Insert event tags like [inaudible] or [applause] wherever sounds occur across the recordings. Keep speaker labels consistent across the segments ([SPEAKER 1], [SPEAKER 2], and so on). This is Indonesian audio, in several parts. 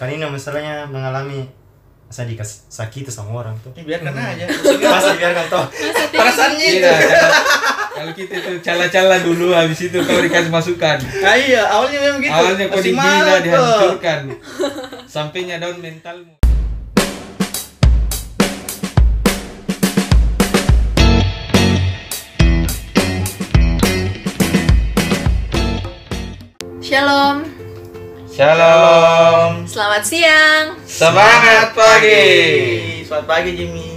[SPEAKER 1] Karina misalnya mengalami saya dikasih sakit sama orang tuh
[SPEAKER 2] biarkan aja
[SPEAKER 1] pasti biarkan toh
[SPEAKER 3] Maksudnya
[SPEAKER 2] perasaannya itu
[SPEAKER 4] Hmm. Iya, kalau- kalau kita itu cala-cala dulu habis itu kau dikasih masukan.
[SPEAKER 2] nah, iya awalnya memang gitu
[SPEAKER 4] Awalnya Gitu. kau
[SPEAKER 2] Masih
[SPEAKER 4] dihina,
[SPEAKER 2] malas, kok.
[SPEAKER 4] dihancurkan. Sampainya down mentalmu.
[SPEAKER 3] Shalom,
[SPEAKER 4] Shalom.
[SPEAKER 3] selamat siang.
[SPEAKER 4] Semangat pagi.
[SPEAKER 2] selamat pagi Jimmy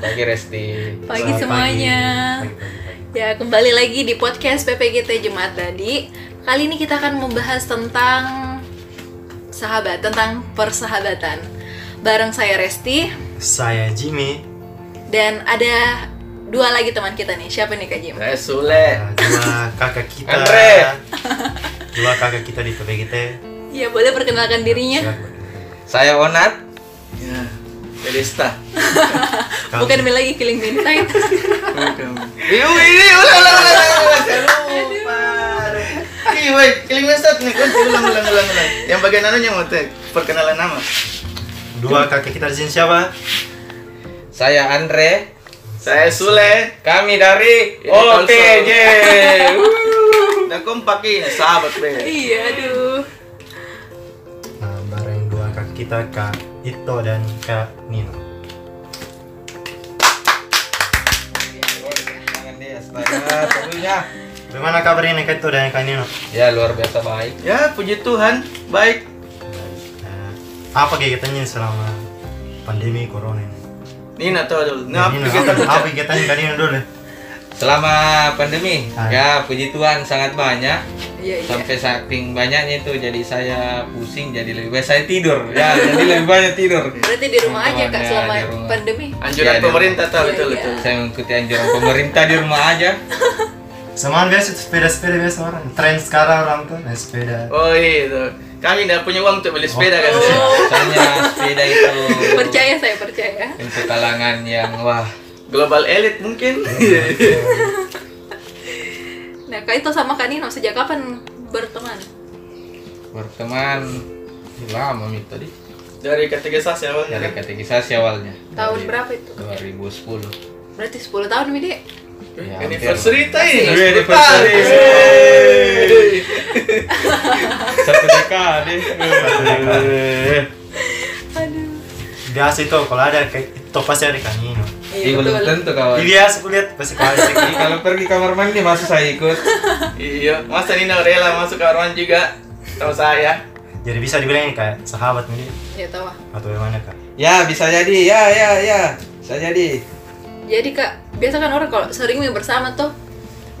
[SPEAKER 4] Pagi Resti.
[SPEAKER 3] Pagi
[SPEAKER 1] Selamat
[SPEAKER 3] semuanya.
[SPEAKER 1] pagi, pagi, pagi.
[SPEAKER 3] Ya, kembali lagi di podcast PPGT Jumat tadi. Kali ini kita akan membahas tentang sahabat, tentang persahabatan. Bareng saya Resti
[SPEAKER 1] saya Jimmy
[SPEAKER 3] dan ada dua lagi teman kita nih. Siapa nih Kak Jim?
[SPEAKER 2] saya Sule
[SPEAKER 1] Nah, dua kakak kita
[SPEAKER 4] Andre.
[SPEAKER 1] dua kakak kita di PPGT
[SPEAKER 3] Ya, boleh perkenalkan dirinya.
[SPEAKER 1] Silakan.
[SPEAKER 4] Saya Onat.
[SPEAKER 2] ya
[SPEAKER 4] Iya.
[SPEAKER 2] Pedesta
[SPEAKER 1] Kami-
[SPEAKER 3] Bukan main lagi killing midnight.
[SPEAKER 4] Iu ini ulang ulang ulang.
[SPEAKER 2] saya lupa Ih, wait, killing message nih, kunci ulang, ulang, ulang, ulang. Yang bagian anunya mau teh, perkenalan nama.
[SPEAKER 1] dua kakak kita di sini siapa
[SPEAKER 4] Saya Andre.
[SPEAKER 2] Saya Sule,
[SPEAKER 4] Kami dari
[SPEAKER 2] Ini
[SPEAKER 4] OTJ.
[SPEAKER 2] dan kompak ini, ya, sahabat be.
[SPEAKER 3] [laughs] iya, aduh.
[SPEAKER 1] nah, bareng dua kakak kita kak Ito dan kak Nino
[SPEAKER 4] Tangan dia, astaga, pokoknya.
[SPEAKER 1] bagaimana kabarnya kak Ito dan kak Nino
[SPEAKER 4] Ya luar biasa baik.
[SPEAKER 2] Ya, puji Tuhan, baik.
[SPEAKER 1] Nah, apa kegiatannya selama pandemi corona ini
[SPEAKER 2] Nina tahu dulu.
[SPEAKER 1] Nah,
[SPEAKER 2] Nah, apa
[SPEAKER 1] Nino,
[SPEAKER 2] kita
[SPEAKER 1] apa apa kegiatannya kak Nino dulu
[SPEAKER 4] Selama pandemi,
[SPEAKER 1] Ah.
[SPEAKER 4] ya puji Tuhan sangat banyak.
[SPEAKER 3] Iya, iya.
[SPEAKER 4] Sampai saking banyaknya itu jadi saya pusing jadi lebih baik saya tidur. Ya, jadi lebih banyak tidur.
[SPEAKER 3] Berarti di rumah aja Kak
[SPEAKER 4] Teman-temannya
[SPEAKER 3] selama
[SPEAKER 4] di rumah.
[SPEAKER 3] pandemi.
[SPEAKER 2] Anjuran
[SPEAKER 4] Ya, dia-
[SPEAKER 2] pemerintah tahu
[SPEAKER 3] Iya,
[SPEAKER 2] betul
[SPEAKER 3] iya.
[SPEAKER 2] betul.
[SPEAKER 4] Saya mengikuti anjuran pemerintah di rumah aja.
[SPEAKER 1] Semangat biasa tuh sepeda-sepeda biasa orang. Tren sekarang orang tuh naik sepeda.
[SPEAKER 2] Oh itu. Kami tidak punya uang untuk beli sepeda kan.
[SPEAKER 4] Soalnya sepeda itu
[SPEAKER 3] Percaya saya percaya.
[SPEAKER 4] untuk kalangan yang wah
[SPEAKER 2] Global elite mungkin. [laughs]
[SPEAKER 3] Nah, Kak itu sama Kak Nino sejak kapan berteman?
[SPEAKER 4] berteman lama itu tadi
[SPEAKER 2] Dari ketiga sas ya bang.
[SPEAKER 4] dari kategorisasi awalnya
[SPEAKER 3] Tahun
[SPEAKER 4] Dari
[SPEAKER 3] berapa itu?
[SPEAKER 4] 2010
[SPEAKER 3] Berarti 10 tahun, Mide.
[SPEAKER 4] Ya, hampir.
[SPEAKER 2] Anniversary time.
[SPEAKER 4] Iya,
[SPEAKER 2] Sepuluh
[SPEAKER 4] anniversary.
[SPEAKER 2] tahun.
[SPEAKER 4] Yeay. satu dekade
[SPEAKER 3] Aduh.
[SPEAKER 1] Biasa itu kalau ada kayak itu pasti ada kan Nino.
[SPEAKER 4] Ih,
[SPEAKER 3] Iya,
[SPEAKER 4] belum
[SPEAKER 3] betul.
[SPEAKER 4] tentu kawan
[SPEAKER 1] Dia biasa kulihat pasti kalau ada
[SPEAKER 4] Ih, kalau pergi kamar mandi masuk saya ikut
[SPEAKER 2] Iya. Masa Nina rela masuk ke ruangan juga. Tahu saya.
[SPEAKER 1] Jadi bisa dibilang kayak sahabat nih
[SPEAKER 3] Ya tahu. ah.
[SPEAKER 1] atau gimana kak?
[SPEAKER 4] ya bisa jadi ya ya ya bisa jadi
[SPEAKER 3] Jadi Kak, biasa kan orang kalau sering main bersama tuh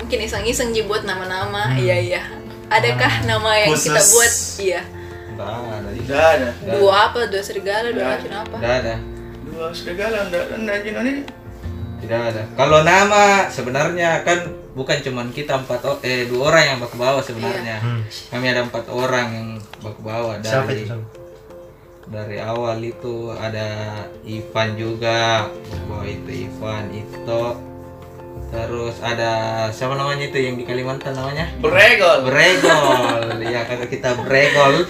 [SPEAKER 3] mungkin iseng-iseng dibuat nama-nama.
[SPEAKER 1] Hmm.
[SPEAKER 3] Iya, iya.
[SPEAKER 1] Ah,
[SPEAKER 3] Adakah nama yang kita
[SPEAKER 1] khusus.
[SPEAKER 3] buat? Iya.
[SPEAKER 4] Nggak
[SPEAKER 2] Tidak ada.
[SPEAKER 4] ada Nggak ada.
[SPEAKER 3] Dua apa? Dua serigala,
[SPEAKER 2] Nggak.
[SPEAKER 3] dua racun apa?
[SPEAKER 4] Nggak ada
[SPEAKER 2] Dua segala ndak ndak Nina ini.
[SPEAKER 4] tidak ada kalau nama sebenarnya kan bukan cuman kita empat o- eh dua orang yang bak bawah sebenarnya
[SPEAKER 1] Hmm.
[SPEAKER 4] kami ada empat orang yang bak bawah
[SPEAKER 1] Siapa
[SPEAKER 4] dari
[SPEAKER 1] itu? siapa?
[SPEAKER 4] dari awal itu ada Ivan juga bahwa itu Ivan itu terus ada siapa namanya itu yang di Kalimantan namanya
[SPEAKER 2] Beregol.
[SPEAKER 4] Bregol ya kata kita Bregol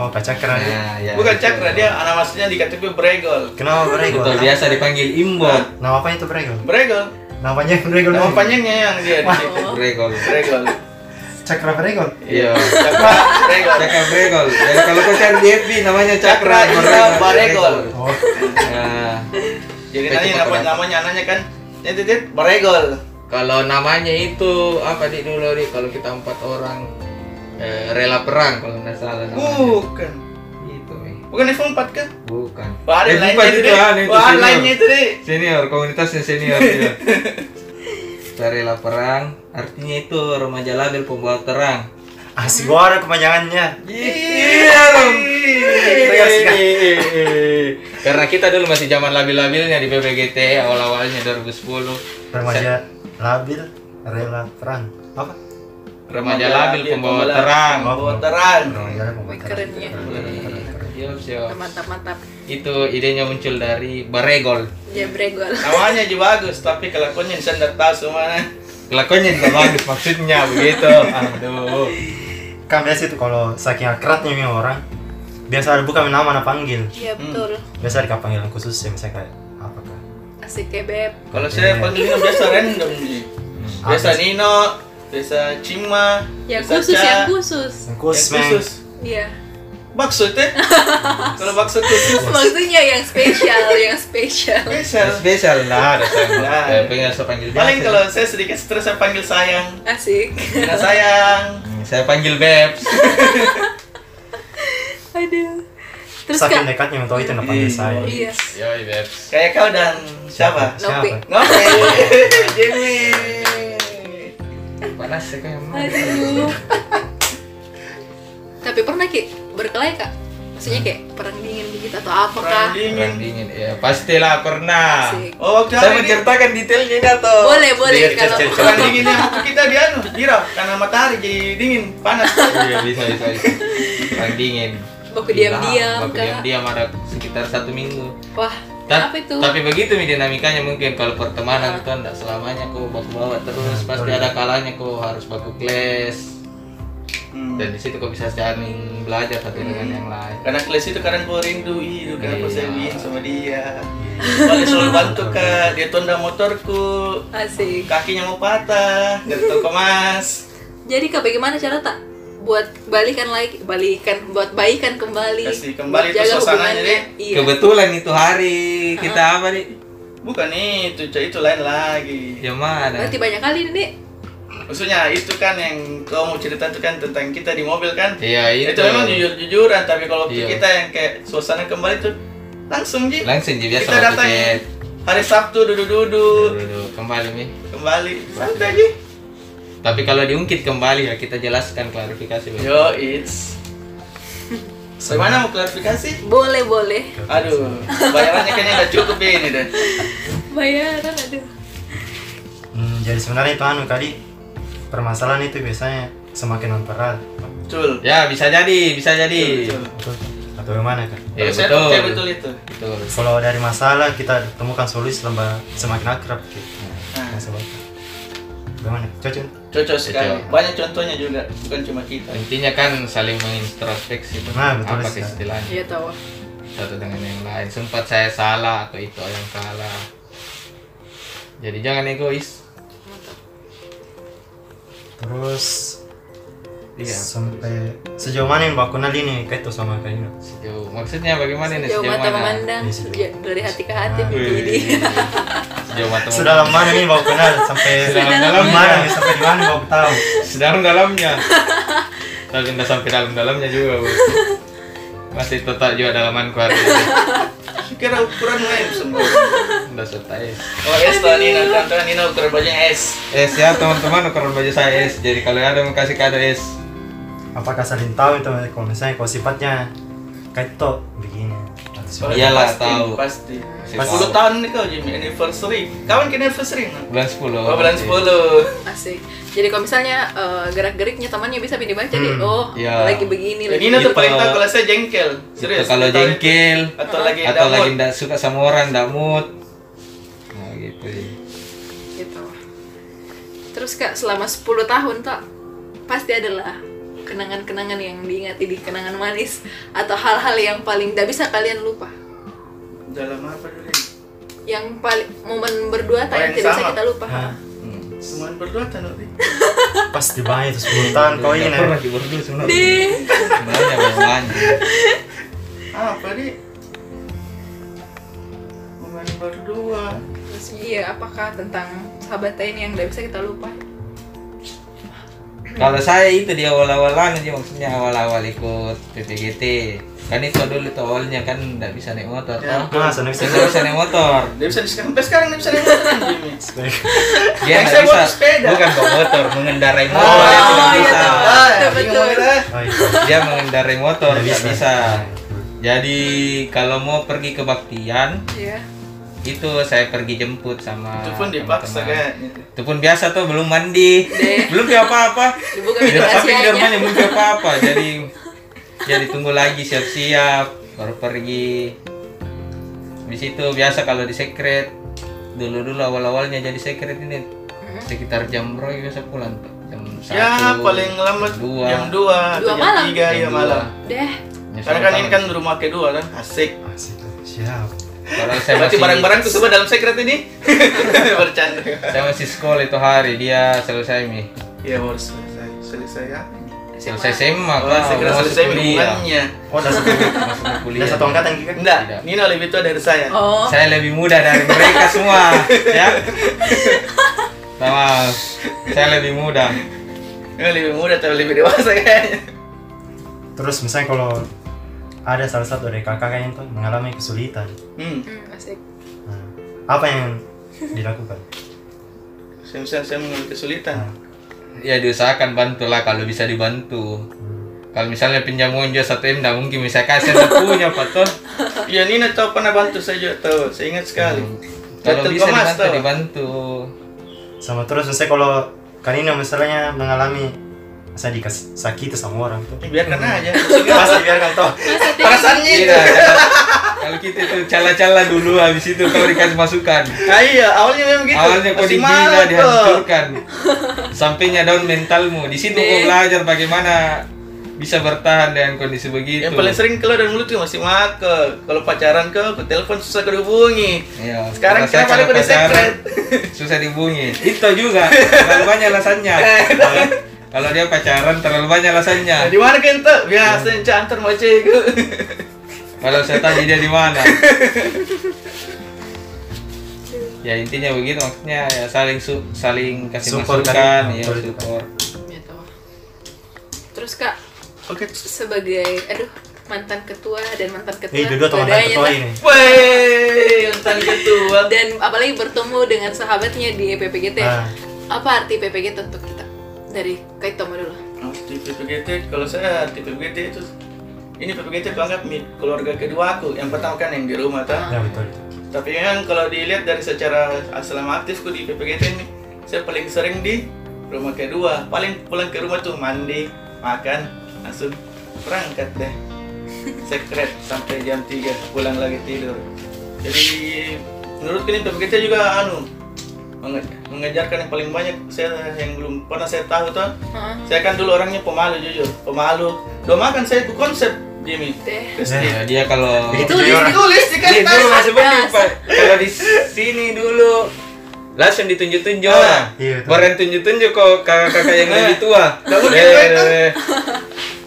[SPEAKER 1] Oh kak Cakra dia.
[SPEAKER 4] nah, ya,
[SPEAKER 2] Bukan
[SPEAKER 4] itu.
[SPEAKER 2] cakra dia nama aslinya di KTP Beregol.
[SPEAKER 1] Kenapa beregol?
[SPEAKER 4] betul biasa dipanggil Imbot
[SPEAKER 1] Nama apa itu beregol?
[SPEAKER 2] Beregol.
[SPEAKER 1] Namanya beregol.
[SPEAKER 2] Nama
[SPEAKER 1] Namanya
[SPEAKER 2] panjangnya yang dia di situ.
[SPEAKER 3] Oh.
[SPEAKER 4] Bregol
[SPEAKER 2] Beregol.
[SPEAKER 1] Cakra beregol.
[SPEAKER 2] Ya.
[SPEAKER 4] iya
[SPEAKER 2] Cakra Beregol.
[SPEAKER 4] Cakra Bregol dan Ya, kalau kau cari di FB namanya Cakra
[SPEAKER 2] Cakra Indra Baregol.
[SPEAKER 1] Oh
[SPEAKER 4] nah,
[SPEAKER 2] Jadi
[SPEAKER 4] Pecah
[SPEAKER 2] nanti
[SPEAKER 4] kotoran.
[SPEAKER 2] namanya namanya anaknya kan Tit, tit, tit, Beregol.
[SPEAKER 4] kalau namanya itu apa di dulu di kalau kita empat orang eh, rela perang kalau nggak salah namanya
[SPEAKER 2] Bukan.
[SPEAKER 4] gitu Mi.
[SPEAKER 2] Bukan iPhone 4 kan?
[SPEAKER 4] Bukan.
[SPEAKER 2] Wah, ada
[SPEAKER 4] Eh,
[SPEAKER 2] lainnya
[SPEAKER 4] bukan
[SPEAKER 2] itu
[SPEAKER 4] itu,
[SPEAKER 2] deh.
[SPEAKER 4] ah, itu
[SPEAKER 2] Wah, ada
[SPEAKER 4] senior.
[SPEAKER 2] lainnya itu deh.
[SPEAKER 4] Senior, komunitasnya senior.
[SPEAKER 2] [laughs]
[SPEAKER 4] iya. Kita rela perang, artinya itu remaja label pembawa terang.
[SPEAKER 1] asik orang Ah, kepanjangannya.
[SPEAKER 4] Iya dong. Karena kita dulu masih zaman labil-labilnya di PPGT awal-awalnya 2010.
[SPEAKER 1] Remaja labil rela perang. Apa?
[SPEAKER 4] Remaja labil Iya, pembawa terang.
[SPEAKER 2] Pembawa terang.
[SPEAKER 1] Remaja labil pembawa
[SPEAKER 3] Wih,
[SPEAKER 1] terang.
[SPEAKER 3] keren ya.
[SPEAKER 4] Iya,
[SPEAKER 1] Keren, keren, keren.
[SPEAKER 4] Siap, siap.
[SPEAKER 3] Mantap, mantap.
[SPEAKER 4] Itu idenya muncul dari Baregol.
[SPEAKER 3] Iya, Jabregol.
[SPEAKER 2] Namanya juga bagus, tapi kelakuannya saya tidak tahu semua. nah.
[SPEAKER 4] Kelakuannya juga bagus maksudnya begitu. Aduh.
[SPEAKER 1] kan biasa itu kalau saking akrabnya memang orang biasa ada bukan nama mana panggil
[SPEAKER 3] Iya betul.
[SPEAKER 1] biasa ada panggilan khusus ya misalnya kayak apa kah
[SPEAKER 3] Asik ya beb.
[SPEAKER 2] Kalau saya panggilnya biasa random nih. Biasa Nino, biasa Cima, biasa
[SPEAKER 3] Yang Ya, khusus,
[SPEAKER 2] Ca,
[SPEAKER 3] yang khusus.
[SPEAKER 1] yang
[SPEAKER 2] yang
[SPEAKER 1] khusus men
[SPEAKER 2] khusus.
[SPEAKER 3] Iya.
[SPEAKER 2] Bakso teh. Kalau bakso khusus
[SPEAKER 3] [laughs] Maksudnya yang spesial, yang spesial.
[SPEAKER 2] spesial.
[SPEAKER 4] Spesial lah ada saya.
[SPEAKER 2] Nah.
[SPEAKER 4] Saya pengen saya panggil biasa.
[SPEAKER 2] Paling kalau saya sedikit stres saya panggil sayang.
[SPEAKER 3] Asik.
[SPEAKER 2] Nina sayang.
[SPEAKER 4] Hmm, saya panggil Beb.
[SPEAKER 3] Aduh. Terus
[SPEAKER 1] saking
[SPEAKER 3] kak.
[SPEAKER 1] dekatnya mentau itu yang panggil
[SPEAKER 4] Iya.
[SPEAKER 1] saya
[SPEAKER 3] Iya.
[SPEAKER 4] Yoi Beb.
[SPEAKER 2] Kayak kau dan siapa?
[SPEAKER 3] Nopi.
[SPEAKER 1] siapa
[SPEAKER 2] Nope. Jimmy.
[SPEAKER 4] Panas saya kayak emang.
[SPEAKER 3] Aduh. Tapi pernah ki berkelahi kak? Maksudnya kayak perang dingin begitu atau apa kak?
[SPEAKER 2] Nah. Perang dingin.
[SPEAKER 4] Perang dingin. Ya pastilah pernah.
[SPEAKER 3] Asik.
[SPEAKER 2] Oh waktu
[SPEAKER 4] Saya
[SPEAKER 2] hari ini
[SPEAKER 4] menceritakan detailnya ini atau?
[SPEAKER 3] Boleh boleh
[SPEAKER 1] Biar
[SPEAKER 3] kalau.
[SPEAKER 1] cer- cer-
[SPEAKER 2] perang dinginnya waktu kita di anu dirau karena matahari jadi dingin [laughs] panas.
[SPEAKER 4] Iya bisa bisa. bisa. Perang dingin. Iya,
[SPEAKER 3] Baku diam-diam,
[SPEAKER 4] Baku
[SPEAKER 3] Kak.
[SPEAKER 4] diam-diam ada sekitar satu minggu.
[SPEAKER 3] Wah.
[SPEAKER 4] Ta-
[SPEAKER 3] Kenapa Nah, itu? Nah.
[SPEAKER 4] Tapi begitu nih dinamikanya mungkin kalau pertemanan itu enggak selamanya kau baku bawa terus pasti ada kalanya kau harus baku clash
[SPEAKER 2] Hmm.
[SPEAKER 4] dan di situ kau bisa saling belajar satu dengan
[SPEAKER 3] Hmm.
[SPEAKER 4] yang lain.
[SPEAKER 2] Karena kelas itu kadang gue rindu, itu kenapa
[SPEAKER 4] Iya.
[SPEAKER 2] saya begini sama dia Kok dia selalu bantu kak, dia tunda motorku
[SPEAKER 3] Asik.
[SPEAKER 2] Kakinya mau patah, dari toko mas
[SPEAKER 3] Jadi kak bagaimana cara tak buat balikan lagi, balikan buat baikan kembali.
[SPEAKER 2] Kasih kembali
[SPEAKER 3] buat
[SPEAKER 2] itu
[SPEAKER 3] jaga
[SPEAKER 2] suasananya,
[SPEAKER 3] hubungannya. Iya.
[SPEAKER 4] Kebetulan itu hari kita apa nih?
[SPEAKER 2] Bukan itu, Cak, itu lain lagi
[SPEAKER 4] Ya mana?
[SPEAKER 3] Berarti banyak kali nih.
[SPEAKER 2] Maksudnya itu kan yang kau mau cerita itu kan tentang kita di mobil kan
[SPEAKER 4] Iya itu.
[SPEAKER 2] Itu memang jujur-jujuran, tapi kalau waktu
[SPEAKER 4] Iya.
[SPEAKER 2] kita yang kayak suasana kembali tuh Langsung Ji,
[SPEAKER 4] Langsung jadi biasa
[SPEAKER 2] kita
[SPEAKER 4] waktu
[SPEAKER 2] datang ya.
[SPEAKER 4] chat.
[SPEAKER 2] hari Sabtu duduk-duduk
[SPEAKER 4] Dulu kembali nih.
[SPEAKER 2] Kembali, santai Ji
[SPEAKER 4] Tapi kalau diungkit kembali ya kita jelaskan klarifikasi. Bang.
[SPEAKER 2] Yo, it's Bagaimana mau klarifikasi?
[SPEAKER 3] Boleh boleh.
[SPEAKER 2] Aduh, bayarannya kayaknya nggak cukup ya ini deh.
[SPEAKER 3] Bayaran aduh.
[SPEAKER 1] Hmm, jadi sebenarnya itu anu kali permasalahan itu biasanya semakin memperat
[SPEAKER 2] Betul.
[SPEAKER 4] Ya bisa jadi, bisa jadi.
[SPEAKER 2] Betul.
[SPEAKER 1] betul atau gimana kan
[SPEAKER 4] Ya
[SPEAKER 2] Kalau saya percaya Iya, betul itu.
[SPEAKER 4] Betul.
[SPEAKER 1] kalau dari masalah kita temukan solusi lembah semakin akrab gitu
[SPEAKER 2] Nah,
[SPEAKER 1] Nah, sebab- gimana cocok
[SPEAKER 2] cocok sekali.
[SPEAKER 4] Cocok.
[SPEAKER 2] Banyak contohnya juga, bukan cuma kita.
[SPEAKER 4] Intinya kan saling mengintrospeksi
[SPEAKER 1] Nah, betul
[SPEAKER 4] apa
[SPEAKER 1] sekali.
[SPEAKER 4] istilahnya
[SPEAKER 3] Iya tahu.
[SPEAKER 4] satu dengan yang lain. Sempat saya salah atau itu yang salah. Jadi jangan egois.
[SPEAKER 1] terus
[SPEAKER 4] Iya.
[SPEAKER 1] sampai sejauh mana yang mbak kenal ini kayak itu sama kayak ini
[SPEAKER 4] Sejauh maksudnya bagaimana nih sejauh
[SPEAKER 3] Jauh mata
[SPEAKER 4] mana?
[SPEAKER 3] memandang,
[SPEAKER 1] Iya, sejauh.
[SPEAKER 3] ya, dari hati ke hati
[SPEAKER 1] Ah.
[SPEAKER 2] iya,
[SPEAKER 3] begini.
[SPEAKER 4] Sejauh mata
[SPEAKER 1] sudah lama mana nih mbak kenal sampai
[SPEAKER 4] Sedalam
[SPEAKER 1] mana
[SPEAKER 4] dalamnya.
[SPEAKER 1] nih, sampai di mana mbak tahu
[SPEAKER 4] sedalam dalamnya tapi tidak sampai dalam dalamnya juga
[SPEAKER 3] [laughs]
[SPEAKER 4] bu masih tetap juga dalaman keluarga
[SPEAKER 2] Kira ukuran lain semua.
[SPEAKER 4] tidak setai
[SPEAKER 2] Oh, es tuh Nina, contohnya Nina ukuran bajunya es.
[SPEAKER 4] es ya teman-teman ukuran baju saya es jadi kalau ada yang mau kasih kado es
[SPEAKER 1] apakah saling tahu itu kalau misalnya kalau sifatnya kayak itu begini atau sifat-
[SPEAKER 4] Iyalah,
[SPEAKER 2] Pasti,
[SPEAKER 4] tahu.
[SPEAKER 2] Pasti.
[SPEAKER 4] Pasti
[SPEAKER 2] Pas 10
[SPEAKER 4] tahu.
[SPEAKER 2] tahun nih kau Jimmy anniversary. Kawan kita anniversary nah.
[SPEAKER 4] bulan Iya. 10
[SPEAKER 2] Oh, bulan 10.
[SPEAKER 3] Asik. Jadi kalau misalnya eh, gerak-geriknya temannya bisa dibaca nih, oh
[SPEAKER 4] Iya.
[SPEAKER 3] lagi begini
[SPEAKER 2] Ya,
[SPEAKER 3] lagi.
[SPEAKER 2] Nina Hmm. tuh
[SPEAKER 4] Gitu.
[SPEAKER 2] paling tahu kalau saya jengkel. Serius.
[SPEAKER 4] Itu kalau
[SPEAKER 2] Atau-
[SPEAKER 4] jengkel
[SPEAKER 2] atau lagi
[SPEAKER 4] atau
[SPEAKER 2] ada
[SPEAKER 4] lagi
[SPEAKER 2] mood.
[SPEAKER 4] tidak suka sama orang tidak mood nah gitu
[SPEAKER 3] Gitu. Terus kak selama 10 tahun tak pasti adalah kenangan-kenangan yang diingati di kenangan manis atau hal-hal yang paling tidak bisa kalian lupa.
[SPEAKER 2] dalam apa dulu? ini?
[SPEAKER 3] Yang paling momen
[SPEAKER 2] Oh,
[SPEAKER 3] berdua tak yang
[SPEAKER 2] yang
[SPEAKER 3] tidak bisa
[SPEAKER 2] sama.
[SPEAKER 3] kita lupa.
[SPEAKER 1] Nah,
[SPEAKER 4] Hmm.
[SPEAKER 2] Semuanya berdua tanur.
[SPEAKER 1] pasti banyak itu sepuluh tahun kau ini
[SPEAKER 4] Nggak pernah di berdua sebenarnya
[SPEAKER 3] Deh.
[SPEAKER 4] sebenarnya banyak
[SPEAKER 2] Apa nih? Momen berdua.
[SPEAKER 3] Terus iya, apakah tentang sahabat lain yang tidak bisa kita lupa?
[SPEAKER 4] Kalau saya itu di awal-awal aja maksudnya awal-awal ikut PPGT. Kan itu dulu tuh awalnya kan nggak bisa naik motor.
[SPEAKER 2] Ya.
[SPEAKER 4] toh.
[SPEAKER 1] nah senang
[SPEAKER 4] Saya nggak bisa naik motor.
[SPEAKER 2] Dia bisa di sekarang, sampai sekarang dia bisa naik motor kan, Jimmy.
[SPEAKER 4] [laughs] Dia
[SPEAKER 2] Yang
[SPEAKER 4] nggak
[SPEAKER 2] saya
[SPEAKER 4] bisa.
[SPEAKER 2] bawa sepeda. Oh,
[SPEAKER 4] Bukan bawa motor, mengendarai motor. dia tidak
[SPEAKER 3] iya,
[SPEAKER 4] Oh, bisa.
[SPEAKER 3] tahu.
[SPEAKER 2] Ah,
[SPEAKER 3] Betul,
[SPEAKER 2] bingung
[SPEAKER 3] betul.
[SPEAKER 2] kita.
[SPEAKER 4] Dia mengendarai motor
[SPEAKER 1] Nggak
[SPEAKER 4] nggak
[SPEAKER 1] bisa.
[SPEAKER 4] bisa. Jadi kalau mau pergi ke Baktian
[SPEAKER 3] Iya.
[SPEAKER 4] itu saya pergi jemput sama
[SPEAKER 2] Itu pun dipaksa kan.
[SPEAKER 4] teman-teman.
[SPEAKER 2] kayaknya.
[SPEAKER 4] Itu pun biasa tuh belum
[SPEAKER 2] [laughs]
[SPEAKER 4] mandi,
[SPEAKER 3] Deh.
[SPEAKER 4] belum kayak apa-apa.
[SPEAKER 3] Dibuka
[SPEAKER 4] Tapi
[SPEAKER 3] pintu
[SPEAKER 4] di rumahnya
[SPEAKER 3] rahasianya.
[SPEAKER 4] belum apa apa jadi jadi tunggu lagi siap-siap baru pergi di situ biasa kalau di secret dulu dulu awal awalnya jadi secret ini sekitar jam berapa biasa pulang tuh? jam
[SPEAKER 2] Hmm. Ya
[SPEAKER 4] satu
[SPEAKER 2] paling lambat
[SPEAKER 4] dua
[SPEAKER 2] jam 2 atau
[SPEAKER 3] Dua
[SPEAKER 2] jam
[SPEAKER 3] malam.
[SPEAKER 2] 3 ya
[SPEAKER 4] dua.
[SPEAKER 2] malam.
[SPEAKER 3] Deh.
[SPEAKER 4] Nyusul
[SPEAKER 2] Karena kan ini
[SPEAKER 4] utama.
[SPEAKER 2] kan rumah kedua kan, asik.
[SPEAKER 1] Asik. Ah, Siap.
[SPEAKER 4] Kalau saya
[SPEAKER 2] Berarti
[SPEAKER 4] masih
[SPEAKER 2] barang-barangku semua dalam secret ini. [laughs] Bercanda.
[SPEAKER 4] saya masih sekolah itu hari dia selesai mi.
[SPEAKER 2] Ya harus selesai. Selesai ya. apa ini?
[SPEAKER 4] Selesai SMA
[SPEAKER 2] Oh,
[SPEAKER 4] kan.
[SPEAKER 2] segera selesai hubungannya.
[SPEAKER 1] Oh, udah satu,
[SPEAKER 4] Masuk kuliah.
[SPEAKER 1] udah satu angkatan kita.
[SPEAKER 2] Enggak,
[SPEAKER 4] Tidak.
[SPEAKER 2] Nino lebih tua dari saya.
[SPEAKER 3] Oh,
[SPEAKER 4] Saya lebih muda dari mereka
[SPEAKER 2] [laughs]
[SPEAKER 4] semua, ya. Sama, saya lebih muda.
[SPEAKER 2] Nino lebih muda tapi lebih dewasa kayaknya.
[SPEAKER 1] Terus misalnya kalau ada salah satu dari kakak kalian tuh mengalami kesulitan,
[SPEAKER 2] Hmm.
[SPEAKER 3] hmm, asik.
[SPEAKER 1] nah, apa yang dilakukan?
[SPEAKER 2] Saya misalnya saya mengalami kesulitan.
[SPEAKER 1] Nah,
[SPEAKER 4] Ya diusahakan bantulah kalau bisa dibantu.
[SPEAKER 1] hmm.
[SPEAKER 4] Kalau misalnya pinjam uang juga satu m, nggak mungkin bisa kasih saya punya, Pak Tol.
[SPEAKER 2] Iya, Nino tahu pernah bantu saya juga tahu. Saya ingat sekali.
[SPEAKER 4] Hmm. Kalau
[SPEAKER 2] Betul,
[SPEAKER 4] bisa
[SPEAKER 2] Mas,
[SPEAKER 4] dibantu,
[SPEAKER 2] tahu.
[SPEAKER 4] dibantu.
[SPEAKER 1] Sama terus misalnya kalau Kanino misalnya mengalami saya dikasih sakit sama orang tuh.
[SPEAKER 2] Ya, biarkan
[SPEAKER 4] Hmm. [laughs]
[SPEAKER 2] aja.
[SPEAKER 1] Pasti biarkan
[SPEAKER 2] [laughs]
[SPEAKER 1] toh.
[SPEAKER 2] Perasaannya itu.
[SPEAKER 4] Tidak, Iya, kalau- kalau kita itu cala-cala dulu habis itu kau dikasih masukan.
[SPEAKER 2] Ah, iya, awalnya memang gitu.
[SPEAKER 4] Awalnya kau
[SPEAKER 2] Masih
[SPEAKER 4] dihina,
[SPEAKER 2] malu tuh. [laughs]
[SPEAKER 4] dihancurkan. gitu. Sampainya down mentalmu. Di situ kau
[SPEAKER 3] Nih.
[SPEAKER 4] belajar bagaimana bisa bertahan dengan kondisi begitu.
[SPEAKER 2] Yang paling sering keluar dari mulut tuh masih maka. Kalau pacaran ke, aku telepon susah kau dihubungi.
[SPEAKER 4] Iya,
[SPEAKER 2] Sekarang
[SPEAKER 4] kalau saya
[SPEAKER 2] kenapa ada
[SPEAKER 4] kalau
[SPEAKER 2] kode
[SPEAKER 4] pacaran, [laughs]
[SPEAKER 2] secret?
[SPEAKER 4] Susah dihubungi. Itu juga terlalu banyak
[SPEAKER 2] [laughs]
[SPEAKER 4] alasannya.
[SPEAKER 2] Eh.
[SPEAKER 4] Kalau- Kalau dia pacaran terlalu banyak
[SPEAKER 2] Nah,
[SPEAKER 4] alasannya.
[SPEAKER 2] di mana kan tuh? Biasa encah antar mau cegu.
[SPEAKER 4] Kalau saya tanya dia di mana.
[SPEAKER 2] [laughs]
[SPEAKER 4] ya intinya begitu maksudnya ya saling su- saling kasih
[SPEAKER 1] Support
[SPEAKER 4] masukan,
[SPEAKER 1] kan?
[SPEAKER 4] ya
[SPEAKER 1] Betul.
[SPEAKER 4] support.
[SPEAKER 3] Ya, tahu. Terus kak,
[SPEAKER 2] Oke.
[SPEAKER 3] sebagai aduh mantan ketua dan mantan ketua
[SPEAKER 1] Ih, dua teman
[SPEAKER 3] bedanya
[SPEAKER 1] ketua
[SPEAKER 3] tuh.
[SPEAKER 1] ini.
[SPEAKER 2] Wey, entar ketua.
[SPEAKER 3] dan apalagi bertemu dengan sahabatnya di E PPGT
[SPEAKER 1] Ah.
[SPEAKER 3] apa arti E PPGT untuk kita dari kait Tomo dulu
[SPEAKER 2] Di PPGT, kalau saya di PPGT itu ini PPGT aku anggap mi- keluarga kedua aku. Yang pertama kan yang di rumah tuh.
[SPEAKER 1] Ya betul.
[SPEAKER 2] Tapi kan kalau dilihat dari secara selama aktifku di PPGT ini, saya paling sering di rumah kedua. Paling pulang ke rumah tuh mandi, makan, langsung berangkat deh. Sekret sampai jam 3, pulang lagi tidur. Jadi menurut ini PPGT juga anu menge- mengejarkan yang paling banyak saya yang belum pernah saya tahu tuh.
[SPEAKER 3] Heeh.
[SPEAKER 2] Saya kan dulu orangnya pemalu jujur, pemalu. Domakan saya ku konsep Jimmy.
[SPEAKER 3] deh
[SPEAKER 1] Eh.
[SPEAKER 4] Ya, dia kalau
[SPEAKER 1] Begitu
[SPEAKER 2] Tulis,
[SPEAKER 1] orang.
[SPEAKER 2] ditulis
[SPEAKER 4] Ini Iya, dulu
[SPEAKER 2] dikasih
[SPEAKER 4] masih penting Pak. Kalau di sini dulu langsung ditunjuk-tunjuk orang.
[SPEAKER 1] Iya, betul.
[SPEAKER 4] Baru yang tunjuk-tunjuk kok kakak-kakak yang lebih [laughs] tua.
[SPEAKER 2] Nggak mungkin,
[SPEAKER 4] Eh,
[SPEAKER 2] Pak, itu.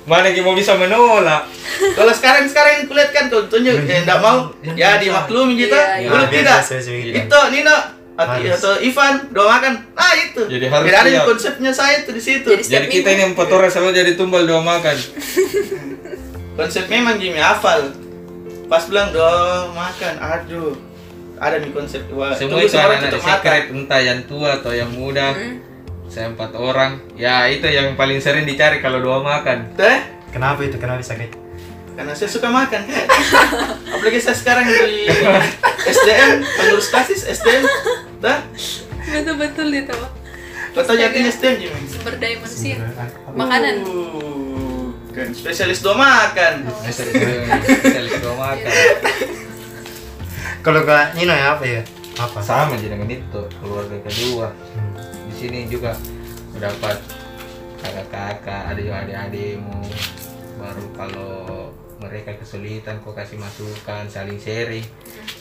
[SPEAKER 4] Mana yang mau bisa menolak?
[SPEAKER 2] Kalau sekarang sekarang kulihat kan tuh tunjuk ya enggak mau ya dimaklumi gitu.
[SPEAKER 3] Iya,
[SPEAKER 4] iya.
[SPEAKER 2] Dulu
[SPEAKER 1] Nah, biasa,
[SPEAKER 2] tidak.
[SPEAKER 1] biasa, biasa.
[SPEAKER 4] Iya.
[SPEAKER 2] Itu Nino atau,
[SPEAKER 1] Harus.
[SPEAKER 2] atau Ivan dua makan. Nah, itu.
[SPEAKER 4] Jadi harus
[SPEAKER 2] Tidak ada
[SPEAKER 4] siap.
[SPEAKER 2] konsepnya saya itu di situ.
[SPEAKER 3] Jadi-
[SPEAKER 4] Jadi kita ini empat orang selalu jadi tumbal dua makan.
[SPEAKER 2] Konsep memang Jimmy hafal. Pas bilang dua makan, aduh. Ada nih konsep dua.
[SPEAKER 4] Semua itu anak-anak di secret entah yang tua atau yang muda. Saya empat orang. Ya itu yang paling sering dicari kalau dua [laughs] makan.
[SPEAKER 2] Teh,
[SPEAKER 1] Kenapa itu? Kenapa bisa kayak?
[SPEAKER 2] Eh? karena saya suka makan. Kak. Apalagi saya sekarang
[SPEAKER 4] [laughs]
[SPEAKER 2] di SDM, pengurus basis SDM. Teh,
[SPEAKER 3] betul betul itu
[SPEAKER 2] kau tahu jadinya SDM Jimmy?
[SPEAKER 3] sumber ya? daya manusia
[SPEAKER 1] Gitu Apa?
[SPEAKER 3] makanan
[SPEAKER 2] Uh, kan spesialis dua makan.
[SPEAKER 4] Bisa dicari dua makan.
[SPEAKER 1] Kalau kak Nino ya apa ya? Apa?
[SPEAKER 4] sama aja dengan itu keluarga kedua
[SPEAKER 1] Hmm.
[SPEAKER 4] di sini juga mendapat kakak-kakak ada juga adik-adikmu baru kalau mereka kesulitan kau kasih masukan saling sharing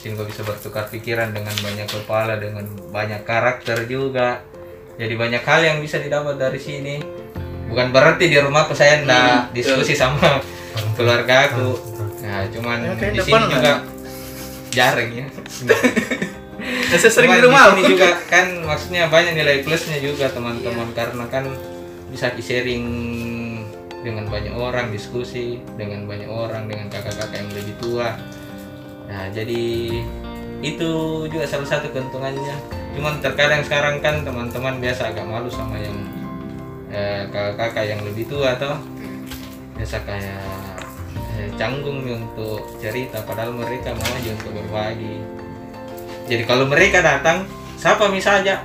[SPEAKER 4] sehingga kau bisa bertukar pikiran dengan banyak kepala dengan banyak karakter juga jadi banyak hal yang bisa didapat dari sini bukan berarti di rumahku saya
[SPEAKER 2] Hmm,
[SPEAKER 4] ndak diskusi sama keluarga aku
[SPEAKER 1] Hmm, Betul.
[SPEAKER 4] nah cuman
[SPEAKER 2] Ya, kayak
[SPEAKER 4] di
[SPEAKER 2] depan
[SPEAKER 4] sini
[SPEAKER 2] lah.
[SPEAKER 4] juga jarang
[SPEAKER 2] [laughs]
[SPEAKER 4] ya
[SPEAKER 2] Ya, saya sering di
[SPEAKER 4] Cuman
[SPEAKER 2] rumah
[SPEAKER 4] di sini juga kan maksudnya banyak nilai plusnya juga teman-teman karena kan bisa di sharing dengan banyak orang diskusi dengan banyak orang dengan kakak-kakak yang lebih tua nah jadi itu juga salah satu keuntungannya cuman terkadang sekarang kan teman-teman biasa agak malu sama yang eh, kakak-kakak yang lebih tua toh biasa kayak eh, canggung nih untuk cerita padahal mereka mau aja untuk berbagi jadi kalau mereka datang siapa misalnya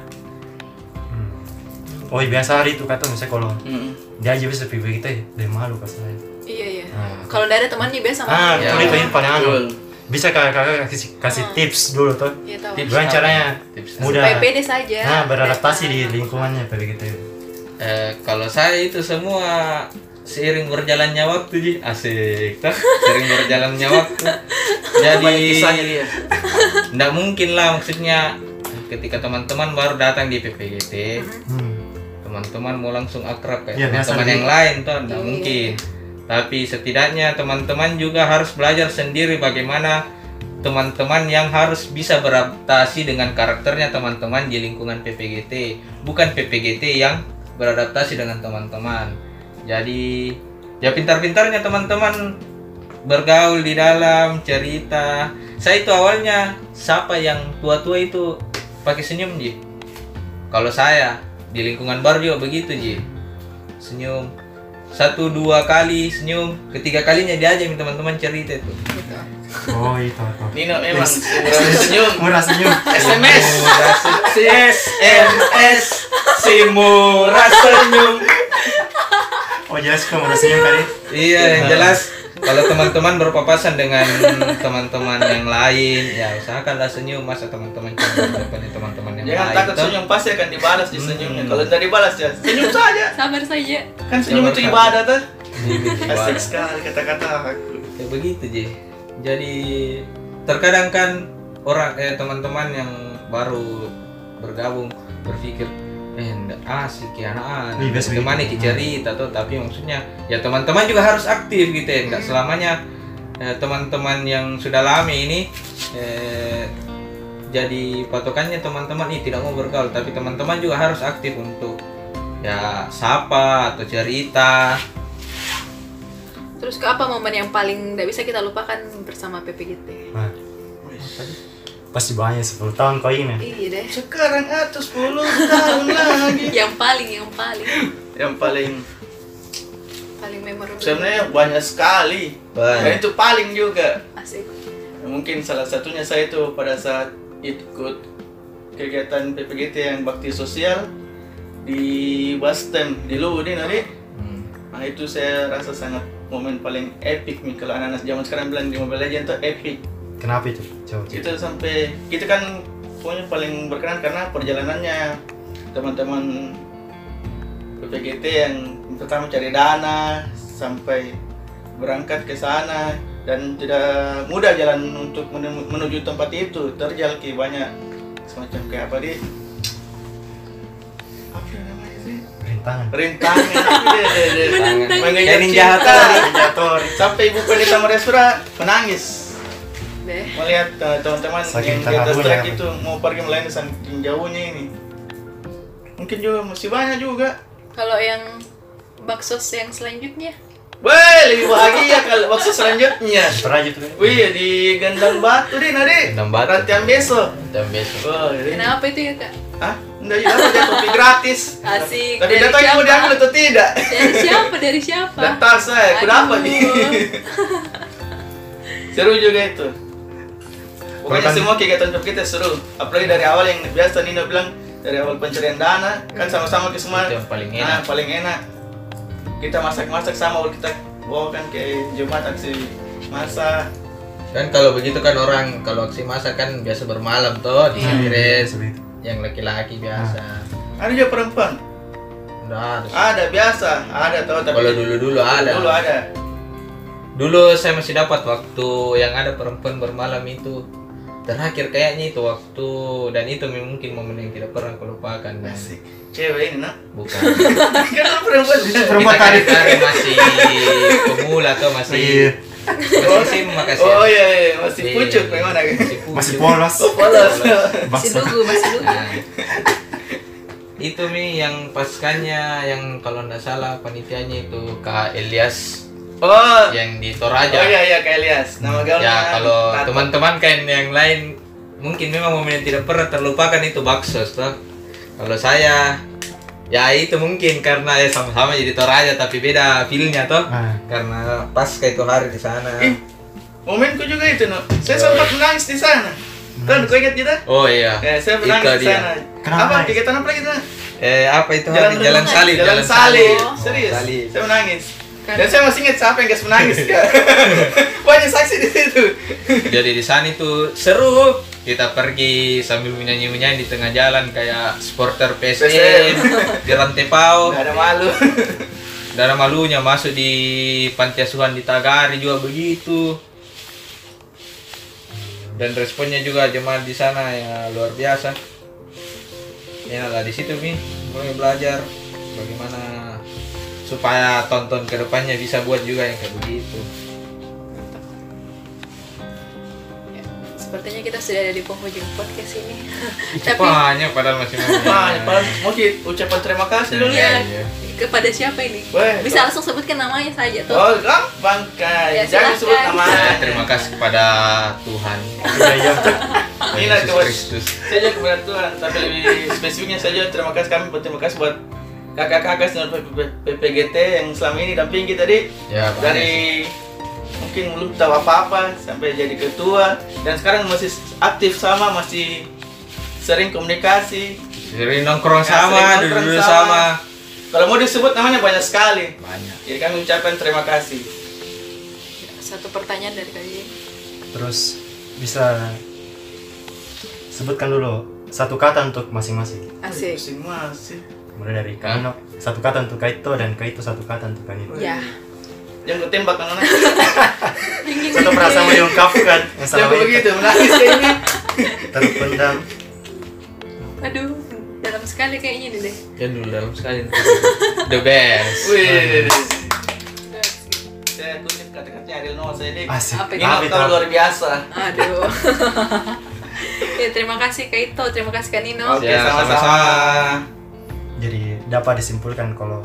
[SPEAKER 1] Hmm. Oh biasa hari itu kata misalnya kalau
[SPEAKER 2] Mm.
[SPEAKER 1] dia aja bisa pilih kita dia malu pas saya.
[SPEAKER 3] iya iya
[SPEAKER 1] Nah.
[SPEAKER 3] kalau tidak ada temannya biasa
[SPEAKER 1] Ah,
[SPEAKER 3] makan
[SPEAKER 4] Ya. Ah.
[SPEAKER 1] itu yang paling anu.
[SPEAKER 2] Betul.
[SPEAKER 1] Bisa kakak kakak kasih, kasih tips dulu tuh.
[SPEAKER 3] iya tahu
[SPEAKER 4] Tips
[SPEAKER 1] Gimana
[SPEAKER 4] apa?
[SPEAKER 1] caranya
[SPEAKER 4] Tips apa?
[SPEAKER 1] mudah
[SPEAKER 3] PPD
[SPEAKER 4] ya.
[SPEAKER 3] saja
[SPEAKER 1] Ah, nah beradaptasi di lingkungannya kayak gitu.
[SPEAKER 4] Eh, kalau saya itu semua seiring berjalannya waktu Ji asik tak seiring berjalannya
[SPEAKER 2] [laughs]
[SPEAKER 4] waktu jadi
[SPEAKER 2] Banyak kisahnya dia.
[SPEAKER 4] tidak mungkin lah maksudnya ketika teman-teman baru datang di PPGT
[SPEAKER 1] Hmm.
[SPEAKER 4] teman-teman mau langsung akrab kayak
[SPEAKER 1] Iya, biasa
[SPEAKER 4] teman-teman
[SPEAKER 1] gitu.
[SPEAKER 4] yang lain tuh nggak
[SPEAKER 3] Iya.
[SPEAKER 4] mungkin tapi setidaknya teman-teman juga harus belajar sendiri bagaimana teman-teman yang harus bisa beradaptasi dengan karakternya teman-teman di lingkungan PPGT bukan PPGT yang beradaptasi dengan teman-teman jadi ya pintar-pintarnya teman-teman bergaul di dalam cerita saya itu awalnya siapa yang tua-tua itu pakai senyum Ji kalau saya di lingkungan baru juga begitu Ji senyum satu dua kali senyum ketiga kalinya dia aja teman-teman cerita itu
[SPEAKER 3] gitu.
[SPEAKER 1] Oh itu itu.
[SPEAKER 2] Nino memang senyum senyum
[SPEAKER 1] Murah [laughs] senyum.
[SPEAKER 2] SMS
[SPEAKER 4] Murah senyum.
[SPEAKER 2] SMS si murah ah, [laughs] senyum
[SPEAKER 1] Oh jelas kok murah senyum kali.
[SPEAKER 4] iya yang jelas kalau teman-teman berpapasan dengan teman-teman yang lain ya usahakanlah senyum masa teman-teman cerita depannya teman-teman yang
[SPEAKER 2] jangan
[SPEAKER 4] lain
[SPEAKER 2] kan takut
[SPEAKER 4] toh.
[SPEAKER 2] senyum pasti akan dibalas di senyumnya kalau tidak dibalas ya senyum saja
[SPEAKER 3] Sabar saja.
[SPEAKER 2] kan senyum
[SPEAKER 4] Sabar
[SPEAKER 2] itu
[SPEAKER 4] saja.
[SPEAKER 2] ibadah tuh
[SPEAKER 4] Ini
[SPEAKER 2] asik
[SPEAKER 4] gimana?
[SPEAKER 2] sekali kata-kata aku
[SPEAKER 4] kayak begitu Ji jadi terkadang kan orang eh teman-teman yang baru bergabung berpikir eh nggak asik ya anak
[SPEAKER 1] Iya, biasa
[SPEAKER 4] teman
[SPEAKER 1] begitu.
[SPEAKER 4] nih cerita tuh tapi maksudnya ya teman-teman juga harus aktif gitu ya nggak selamanya eh, teman-teman yang sudah lama ini eh, jadi patokannya teman-teman ini tidak mau bergaul tapi teman-teman juga harus aktif untuk ya sapa atau cerita
[SPEAKER 3] Terus ke apa momen yang paling tidak bisa kita lupakan bersama PPGT?
[SPEAKER 1] Nah, pasti banyak 10 tahun kau ini.
[SPEAKER 3] Iya deh.
[SPEAKER 2] sekarang atas 10 tahun lagi
[SPEAKER 3] [laughs] Yang paling, yang paling,
[SPEAKER 2] yang paling
[SPEAKER 3] paling memorable.
[SPEAKER 2] sebenarnya banyak sekali
[SPEAKER 4] Banyak.
[SPEAKER 2] dan itu paling juga
[SPEAKER 3] Asik.
[SPEAKER 2] mungkin salah satunya saya itu pada saat ikut kegiatan PPGT yang bakti sosial di Bastem di Luwu di nanti
[SPEAKER 4] Hmm.
[SPEAKER 2] nah itu saya rasa sangat momen paling epic nih kalau anak-anak zaman sekarang bilang di Mobile Legends itu epic
[SPEAKER 1] Kenapa itu? Coba.
[SPEAKER 2] itu sampai kita kan pokoknya paling berkenan karena perjalanannya teman-teman PPGT yang pertama cari dana sampai berangkat ke sana dan tidak mudah jalan untuk menem- menuju tempat itu terjal ke banyak semacam kayak apa di apa namanya sih
[SPEAKER 1] Rintangan.
[SPEAKER 2] rintangan Deh, deh, deh.
[SPEAKER 3] Menentang
[SPEAKER 2] Mengejar
[SPEAKER 4] Kayak ninja
[SPEAKER 2] cinta.
[SPEAKER 1] Jator.
[SPEAKER 2] sampai ibu pendeta Maresura menangis
[SPEAKER 3] Deh.
[SPEAKER 2] melihat uh, teman-teman
[SPEAKER 1] Saking
[SPEAKER 2] yang di atas
[SPEAKER 1] terharunya.
[SPEAKER 4] ya,
[SPEAKER 2] trek itu mau pergi melayani saking jauhnya ini mungkin juga masih banyak juga
[SPEAKER 3] Kalau yang baksos yang selanjutnya,
[SPEAKER 2] Wah, lebih bahagia kalau waktu selanjutnya
[SPEAKER 1] Terajut kan?
[SPEAKER 2] Wih, di Gendang Batu deh, Nade
[SPEAKER 4] Gendang Batu.
[SPEAKER 2] Rantian Beso
[SPEAKER 4] dan besok
[SPEAKER 2] Wah, ini
[SPEAKER 3] kenapa itu ya kak?
[SPEAKER 2] Hah? Nggak iya, juga, ada kopi gratis
[SPEAKER 3] Asik.
[SPEAKER 2] Tapi
[SPEAKER 3] Dari
[SPEAKER 2] nggak tahu mau
[SPEAKER 3] siapa?
[SPEAKER 2] diambil atau tidak
[SPEAKER 3] Dari siapa? Dari siapa?
[SPEAKER 2] Daftar saya, aku dapat nih
[SPEAKER 3] Aduh.
[SPEAKER 2] Seru juga itu Pokoknya
[SPEAKER 1] Bahkan-
[SPEAKER 2] semua kegiatan job kita seru Apalagi dari awal yang biasa Nino bilang Dari awal pencarian dana Kan sama-sama ke semua
[SPEAKER 4] Itu yang paling
[SPEAKER 2] Nah,
[SPEAKER 4] enak.
[SPEAKER 2] paling enak. Kita masak-masak sama kita bawakan ke Jumat aksi masak.
[SPEAKER 4] Kan kalau begitu kan orang kalau aksi masak kan biasa bermalam toh di Sabires.
[SPEAKER 1] Iya, Seperti itu. Ah.
[SPEAKER 4] Yang laki-laki biasa.
[SPEAKER 2] Ada juga perempuan.
[SPEAKER 4] Nggak harus.
[SPEAKER 2] Ada biasa, ada tahu Ah, tapi
[SPEAKER 4] Kalau dulu-dulu ada.
[SPEAKER 2] Dulu ada.
[SPEAKER 4] Dulu saya masih dapat waktu yang ada perempuan bermalam itu. Terakhir kayaknya itu waktu dan itu mungkin momen yang tidak pernah kulupakan dan
[SPEAKER 2] Asik. Cewek ini, nak.
[SPEAKER 1] [laughs]
[SPEAKER 4] bukan
[SPEAKER 2] [laughs] Kan perempuan.
[SPEAKER 1] Perempuan
[SPEAKER 4] kita
[SPEAKER 1] tarik.
[SPEAKER 4] kan masih pemula atau
[SPEAKER 1] Iya.
[SPEAKER 4] masih masih sim makasih ya.
[SPEAKER 2] Oh iya, iya. masih pucuk memang nak.
[SPEAKER 1] Masih [laughs] polos.
[SPEAKER 2] Polos. [laughs]
[SPEAKER 3] Masih
[SPEAKER 1] Bakso.
[SPEAKER 3] lugu, masih lugu.
[SPEAKER 4] Nah, itu mi yang paskannya yang kalau nggak salah panitianya itu Kak Elias
[SPEAKER 2] Oh.
[SPEAKER 4] yang di
[SPEAKER 2] Oh
[SPEAKER 4] Toraja.
[SPEAKER 2] iya iya kayak Elias. Nama gaulnya.
[SPEAKER 4] Ya kalau
[SPEAKER 2] Tata.
[SPEAKER 4] teman-teman kan yang lain mungkin memang momen yang tidak pernah terlupakan itu bakso toh. Kalau saya ya itu mungkin karena ya sama-sama jadi Toraja tapi beda feelnya toh.
[SPEAKER 1] Nah,
[SPEAKER 4] Karena pas kayak itu hari di sana.
[SPEAKER 2] Ih, momenku juga itu, nak. Saya sempat menangis di sana. Tuan, kau ingat tidak?
[SPEAKER 4] Oh iya.
[SPEAKER 2] Ya, saya
[SPEAKER 4] Hmm. Itu
[SPEAKER 2] menangis di
[SPEAKER 4] dia.
[SPEAKER 2] sana.
[SPEAKER 1] Kenapa
[SPEAKER 2] Apa
[SPEAKER 1] nangis?
[SPEAKER 2] kegiatan apa lagi sana?
[SPEAKER 4] Eh apa itu
[SPEAKER 2] Jalan
[SPEAKER 4] hari jalan
[SPEAKER 3] Renungan.
[SPEAKER 4] salib
[SPEAKER 2] Jalan,
[SPEAKER 4] salib.
[SPEAKER 2] salib. Oh, Serius.
[SPEAKER 4] Salib.
[SPEAKER 2] Saya menangis.
[SPEAKER 3] Karena-
[SPEAKER 2] Dan saya masih ingat siapa yang gas menangis.
[SPEAKER 4] [laughs]
[SPEAKER 2] Kak. Banyak saksi di situ.
[SPEAKER 4] Jadi di sana itu seru. Kita pergi sambil menyanyi-menyanyi di tengah [laughs] jalan kayak supporter PSM di Rantepau.
[SPEAKER 2] Gak ada malu.
[SPEAKER 4] Nggak Saudara malunya masuk di panti asuhan di Tagari juga begitu. Dan responnya juga jemaat di sana ya luar biasa. Ya lah di situ Mi mulai belajar bagaimana supaya tonton ke depannya bisa buat juga yang kayak begitu.
[SPEAKER 3] Ya, Sepertinya kita sudah ada di penghujung podcast ini. Tapi
[SPEAKER 4] Cepatnya padahal
[SPEAKER 2] [laughs]
[SPEAKER 4] masih mau.
[SPEAKER 2] [laughs] Nah, padahal mau ki- ucapan terima kasih dulu ya.
[SPEAKER 3] ya kepada siapa ini?
[SPEAKER 2] Weh, kok-
[SPEAKER 3] Bisa langsung sebutkan namanya saja tuh.
[SPEAKER 2] Oh, gampang
[SPEAKER 3] Ya,
[SPEAKER 2] kan. Jangan sebut
[SPEAKER 3] silakan.
[SPEAKER 2] nama.
[SPEAKER 4] Eh, Terima kasih kepada Tuhan
[SPEAKER 1] Iya, iya.
[SPEAKER 2] Inilah
[SPEAKER 4] Yesus
[SPEAKER 2] Tuhan.
[SPEAKER 4] Kristus.
[SPEAKER 2] Saya juga kepada Tuhan, tapi lebih spesifiknya saja terima kasih kami berterima kasih buat kakak-kakak senior PP- PPGT yang selama ini dampingi tadi
[SPEAKER 4] Ya,
[SPEAKER 2] dari mungkin belum tahu apa-apa sampai jadi ketua dan sekarang masih aktif sama masih sering komunikasi
[SPEAKER 4] Sering nongkrong
[SPEAKER 2] Ya, sering
[SPEAKER 4] sama,
[SPEAKER 2] nongkrong
[SPEAKER 4] duduk
[SPEAKER 2] sama.
[SPEAKER 4] sama.
[SPEAKER 2] kalau mau disebut namanya banyak sekali
[SPEAKER 4] Banyak.
[SPEAKER 2] jadi kami ucapkan terima kasih
[SPEAKER 3] Satu pertanyaan dari kalian.
[SPEAKER 1] Terus bisa sebutkan dulu satu kata untuk masing-masing.
[SPEAKER 3] Asik.
[SPEAKER 2] masing-masing
[SPEAKER 1] Mulai dari Kanino, satu kata untuk Kaito dan Kaito satu kata untuk kan [laughs] Kanino.
[SPEAKER 3] Ya.
[SPEAKER 2] jangan gue tembak
[SPEAKER 3] [laughs]
[SPEAKER 2] kan
[SPEAKER 1] Satu perasaan mau diungkapkan yang
[SPEAKER 2] jangan
[SPEAKER 1] selama ini
[SPEAKER 2] begitu menangis kayak ini
[SPEAKER 1] terpendam.
[SPEAKER 3] Aduh, dalam sekali kayaknya ini deh.
[SPEAKER 4] Ya dulu dalam
[SPEAKER 2] [laughs]
[SPEAKER 4] sekali. The best.
[SPEAKER 2] wih saya kutip kata-katanya Ariel Noah saya ini
[SPEAKER 1] Asik.
[SPEAKER 3] Apa itu?
[SPEAKER 2] ini
[SPEAKER 1] Tapi
[SPEAKER 2] tahu luar biasa
[SPEAKER 3] Aduh. [laughs] ya, terima kasih Kaito, terima kasih Kanino.
[SPEAKER 2] Oke,
[SPEAKER 4] Ya,
[SPEAKER 2] sama-sama.
[SPEAKER 1] Jadi dapat disimpulkan kalau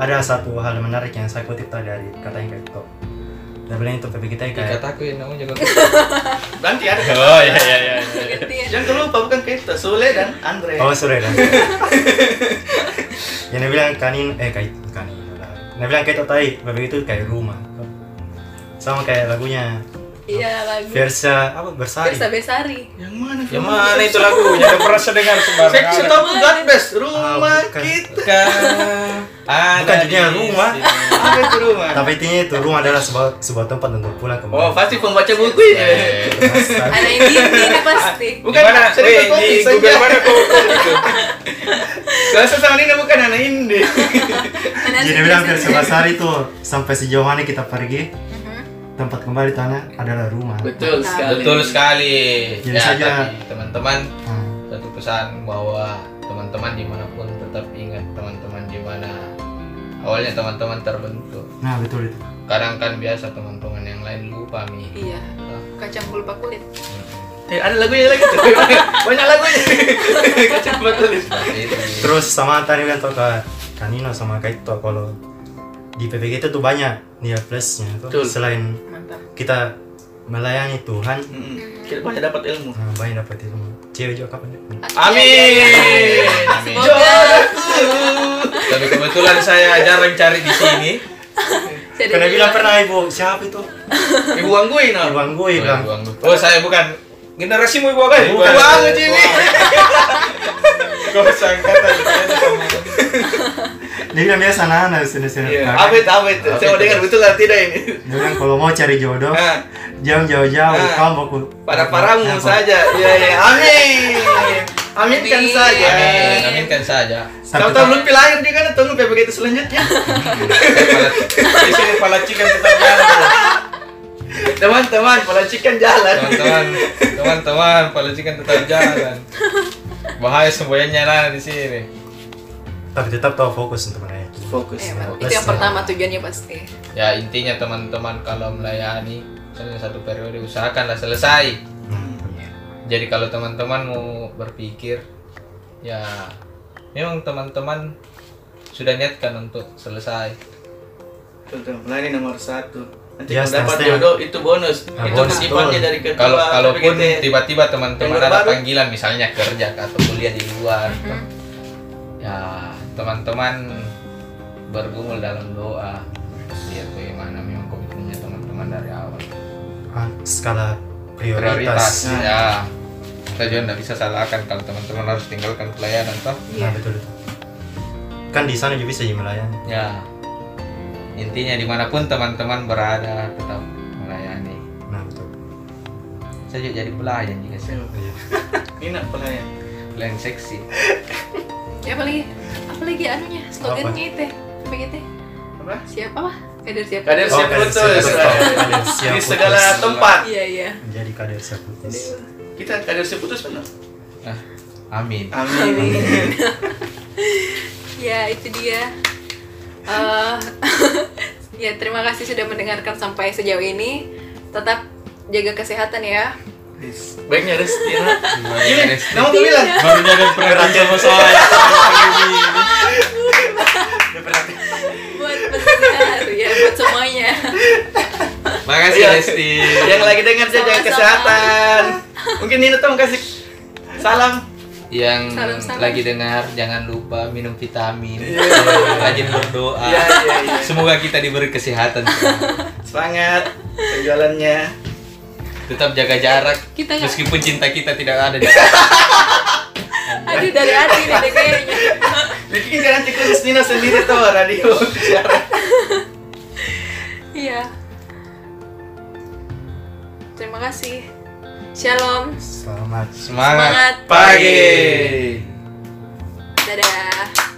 [SPEAKER 1] ada satu hal menarik yang saya kutip tadi dari katanya Kaito. Labelnya itu PPGT kayak
[SPEAKER 4] Kataku yang
[SPEAKER 2] [laughs]
[SPEAKER 4] namanya juga.
[SPEAKER 2] Nanti ada
[SPEAKER 4] Oh ya ya ya.
[SPEAKER 3] Gantian.
[SPEAKER 2] Jangan lupa bukan kita, Sule dan Andre.
[SPEAKER 1] Oh sudah dah. [laughs] yang dia bilang kanin eh kait kanino lah. Dia bilang kaito tai, bebek itu kayak rumah. Sama kayak lagunya
[SPEAKER 3] Iya, lagu.
[SPEAKER 1] Versa apa bersari.
[SPEAKER 3] Versa Besari.
[SPEAKER 2] Yang mana?
[SPEAKER 4] Yang mana itu lagunya? Udah pernah saya dengar
[SPEAKER 2] Saya
[SPEAKER 4] sembarangan.
[SPEAKER 2] setau God Bless, rumah
[SPEAKER 1] Ah, bukan.
[SPEAKER 2] kita.
[SPEAKER 4] Ada
[SPEAKER 1] Bukan
[SPEAKER 4] di
[SPEAKER 1] judulnya rumah.
[SPEAKER 4] sini.
[SPEAKER 2] Apa itu rumah?
[SPEAKER 1] Tapi intinya itu rumah adalah sebuah sebuah tempat untuk pulang kembali.
[SPEAKER 2] Oh, pasti pembaca buku ya.
[SPEAKER 4] Eh,
[SPEAKER 1] Bersari.
[SPEAKER 3] Ada yang gini ini pasti.
[SPEAKER 2] Bukan,
[SPEAKER 4] Gimana?
[SPEAKER 2] saya
[SPEAKER 4] Weh,
[SPEAKER 2] ikut
[SPEAKER 4] di
[SPEAKER 2] kopi
[SPEAKER 4] Google
[SPEAKER 2] saja.
[SPEAKER 4] mana
[SPEAKER 2] [laughs]
[SPEAKER 4] kau ukur itu?
[SPEAKER 2] Kalau saya sama Nina bukan anak indie.
[SPEAKER 3] Ada
[SPEAKER 1] Jadi dia
[SPEAKER 3] yang
[SPEAKER 1] bilang
[SPEAKER 3] gini.
[SPEAKER 1] Versa Bersari itu sampai sejauh mana kita pergi
[SPEAKER 3] Mhm.
[SPEAKER 1] tempat kembali tanah adalah rumah.
[SPEAKER 2] Betul sekali.
[SPEAKER 4] Betul sekali.
[SPEAKER 1] Jadi
[SPEAKER 4] Ya,
[SPEAKER 1] saja-
[SPEAKER 4] tapi teman-teman
[SPEAKER 1] Nah,
[SPEAKER 4] satu pesan bahwa teman-teman dimanapun tetap ingat teman-teman di mana awalnya teman-teman terbentuk
[SPEAKER 1] nah betul itu.
[SPEAKER 4] kadang kan biasa teman-teman yang lain lupa
[SPEAKER 3] [laughs]
[SPEAKER 4] mi
[SPEAKER 3] Iya, kacang pulpa kulit.
[SPEAKER 2] Eh, ada lagunya lagi [laughs] tuh. Banyak ya. lagunya. Kacau betul.
[SPEAKER 4] Seperti itu.
[SPEAKER 1] Terus sama tadi kan bilang tuh ke Kanino sama Kaito kalau di PPG itu tuh banyak nilai plusnya tuh.
[SPEAKER 2] Betul.
[SPEAKER 1] Selain
[SPEAKER 3] Mantap.
[SPEAKER 1] kita melayani Tuhan
[SPEAKER 2] Mm-mm. Kita Hmm, banyak dapat ilmu.
[SPEAKER 1] nah, banyak dapat ilmu cewek juga kapan dapat?
[SPEAKER 2] Amin.
[SPEAKER 4] Amin.
[SPEAKER 2] Jodohku.
[SPEAKER 4] tapi kebetulan saya jarang cari di sini
[SPEAKER 3] Jadi
[SPEAKER 1] karena bilang pernah ibu siapa itu
[SPEAKER 2] Ibu gangguin no.
[SPEAKER 1] ibu gue
[SPEAKER 4] oh,
[SPEAKER 1] bilang
[SPEAKER 4] buang dulu. oh saya bukan generasi mau buang
[SPEAKER 1] Bukan.
[SPEAKER 4] buang
[SPEAKER 2] Bangun Jimmy.
[SPEAKER 4] kau sangkatan
[SPEAKER 1] dia bilang biasa anak-anak sini sini
[SPEAKER 2] Iya.
[SPEAKER 1] Nah,
[SPEAKER 2] Apa itu apa itu? Saya mau dengar betul atau tidak ini.
[SPEAKER 1] dia bilang kalau mau cari jodoh
[SPEAKER 2] Nah,
[SPEAKER 1] jangan jauh-jauh
[SPEAKER 2] Ah.
[SPEAKER 1] kamu aku
[SPEAKER 2] para paramu
[SPEAKER 1] Nah,
[SPEAKER 2] saja. Iya iya. Amin. Amin kan
[SPEAKER 3] Amin.
[SPEAKER 2] saja.
[SPEAKER 4] amin kan aminkan saja
[SPEAKER 1] tapi
[SPEAKER 2] Tahu-tahu belum lahir dia kan tunggu PPG itu selanjutnya.
[SPEAKER 4] di sini pala chicken tetap jalan
[SPEAKER 2] Teman-teman, pola chicken jalan.
[SPEAKER 4] teman-teman teman-teman pala chicken tetap jalan bahaya semboyannya lah di sini
[SPEAKER 1] tapi tetap tahu fokus untuk melayani
[SPEAKER 2] Fokus.
[SPEAKER 3] Eh,
[SPEAKER 1] Terus,
[SPEAKER 3] itu yang
[SPEAKER 1] ya.
[SPEAKER 3] pertama tujuannya pasti.
[SPEAKER 4] ya intinya teman-teman kalau melayani misalnya satu periode usahakanlah selesai jadi kalau teman-teman mau berpikir ya memang teman-teman sudah niatkan untuk selesai
[SPEAKER 2] Betul, Melayani nomor satu. Nanti
[SPEAKER 1] Yes,
[SPEAKER 2] kalau dapat
[SPEAKER 1] pasti.
[SPEAKER 2] jodoh itu bonus.
[SPEAKER 1] Ah,
[SPEAKER 2] itu
[SPEAKER 1] bonus,
[SPEAKER 2] kutipannya
[SPEAKER 1] betul.
[SPEAKER 2] dari ketua
[SPEAKER 4] kalau kalaupun
[SPEAKER 2] PPGT.
[SPEAKER 4] tiba-tiba teman-teman
[SPEAKER 2] gitu ya. Yang baru-baru.
[SPEAKER 4] ada panggilan misalnya kerja atau kuliah di luar ya teman-teman bergumul dalam doa lihat bagaimana memang komitmennya teman-teman dari awal
[SPEAKER 1] Ah, skala prioritas,
[SPEAKER 4] prioritas ya kita juga nggak bisa salahkan kalau teman-teman harus tinggalkan pelayanan toh
[SPEAKER 1] nah
[SPEAKER 3] Iya.
[SPEAKER 1] betul itu kan di sana juga bisa jadi melayani
[SPEAKER 4] ya intinya dimanapun teman-teman berada tetap melayani
[SPEAKER 1] nah betul
[SPEAKER 4] saya juga jadi pelayan juga saya
[SPEAKER 1] Iya.
[SPEAKER 2] Ini nak pelayan.
[SPEAKER 4] pelayan seksi
[SPEAKER 3] Ya apalagi apalagi anunya slogannya itu. Begitu.
[SPEAKER 2] Apa apa?
[SPEAKER 3] siapa lah kader siapa
[SPEAKER 2] Kader
[SPEAKER 1] Oh,
[SPEAKER 2] siap
[SPEAKER 1] kader
[SPEAKER 2] putus.
[SPEAKER 1] siap putus. Kader siap
[SPEAKER 2] Di
[SPEAKER 1] putus.
[SPEAKER 2] segala tempat.
[SPEAKER 3] iya iya
[SPEAKER 1] menjadi kader siap putus
[SPEAKER 2] Kita kader siap putus benar.
[SPEAKER 4] Ah, amin.
[SPEAKER 2] Amin.
[SPEAKER 3] ya itu dia Eh, [laughs] ya terima kasih sudah mendengarkan sampai sejauh ini tetap jaga kesehatan ya
[SPEAKER 2] Baiknya harus ya.
[SPEAKER 4] Baiknya, Res.
[SPEAKER 2] Kamu tuh bilang.
[SPEAKER 4] Baru jadi perhatian sama saya.
[SPEAKER 3] buat [laughs] pendengar ya buat semuanya
[SPEAKER 4] Makasih
[SPEAKER 2] Iya.
[SPEAKER 4] Resti.
[SPEAKER 2] Yang lagi dengar jaga
[SPEAKER 3] Sama-sama.
[SPEAKER 2] kesehatan. Mungkin Nino tuh mau kasih salam.
[SPEAKER 4] Yang
[SPEAKER 3] Salam-salam.
[SPEAKER 4] lagi dengar jangan lupa minum vitamin.
[SPEAKER 2] Iya.
[SPEAKER 4] Rajin berdoa.
[SPEAKER 2] Iya iya iya.
[SPEAKER 4] Semoga kita diberi kesehatan. semua.
[SPEAKER 2] Semangat penjualannya.
[SPEAKER 4] Tetap jaga jarak.
[SPEAKER 3] Kita nggak-
[SPEAKER 4] Meskipun cinta kita tidak ada di
[SPEAKER 1] Iya.
[SPEAKER 3] aduh dari hati
[SPEAKER 1] [laughs]
[SPEAKER 3] nih deh kayaknya
[SPEAKER 2] Bikin kan nanti khusus Nino sendiri tuh radio.
[SPEAKER 3] iya terima kasih shalom
[SPEAKER 1] selamat
[SPEAKER 4] Semangat.
[SPEAKER 3] Semangat.
[SPEAKER 4] pagi.
[SPEAKER 2] Pagi.
[SPEAKER 3] dadah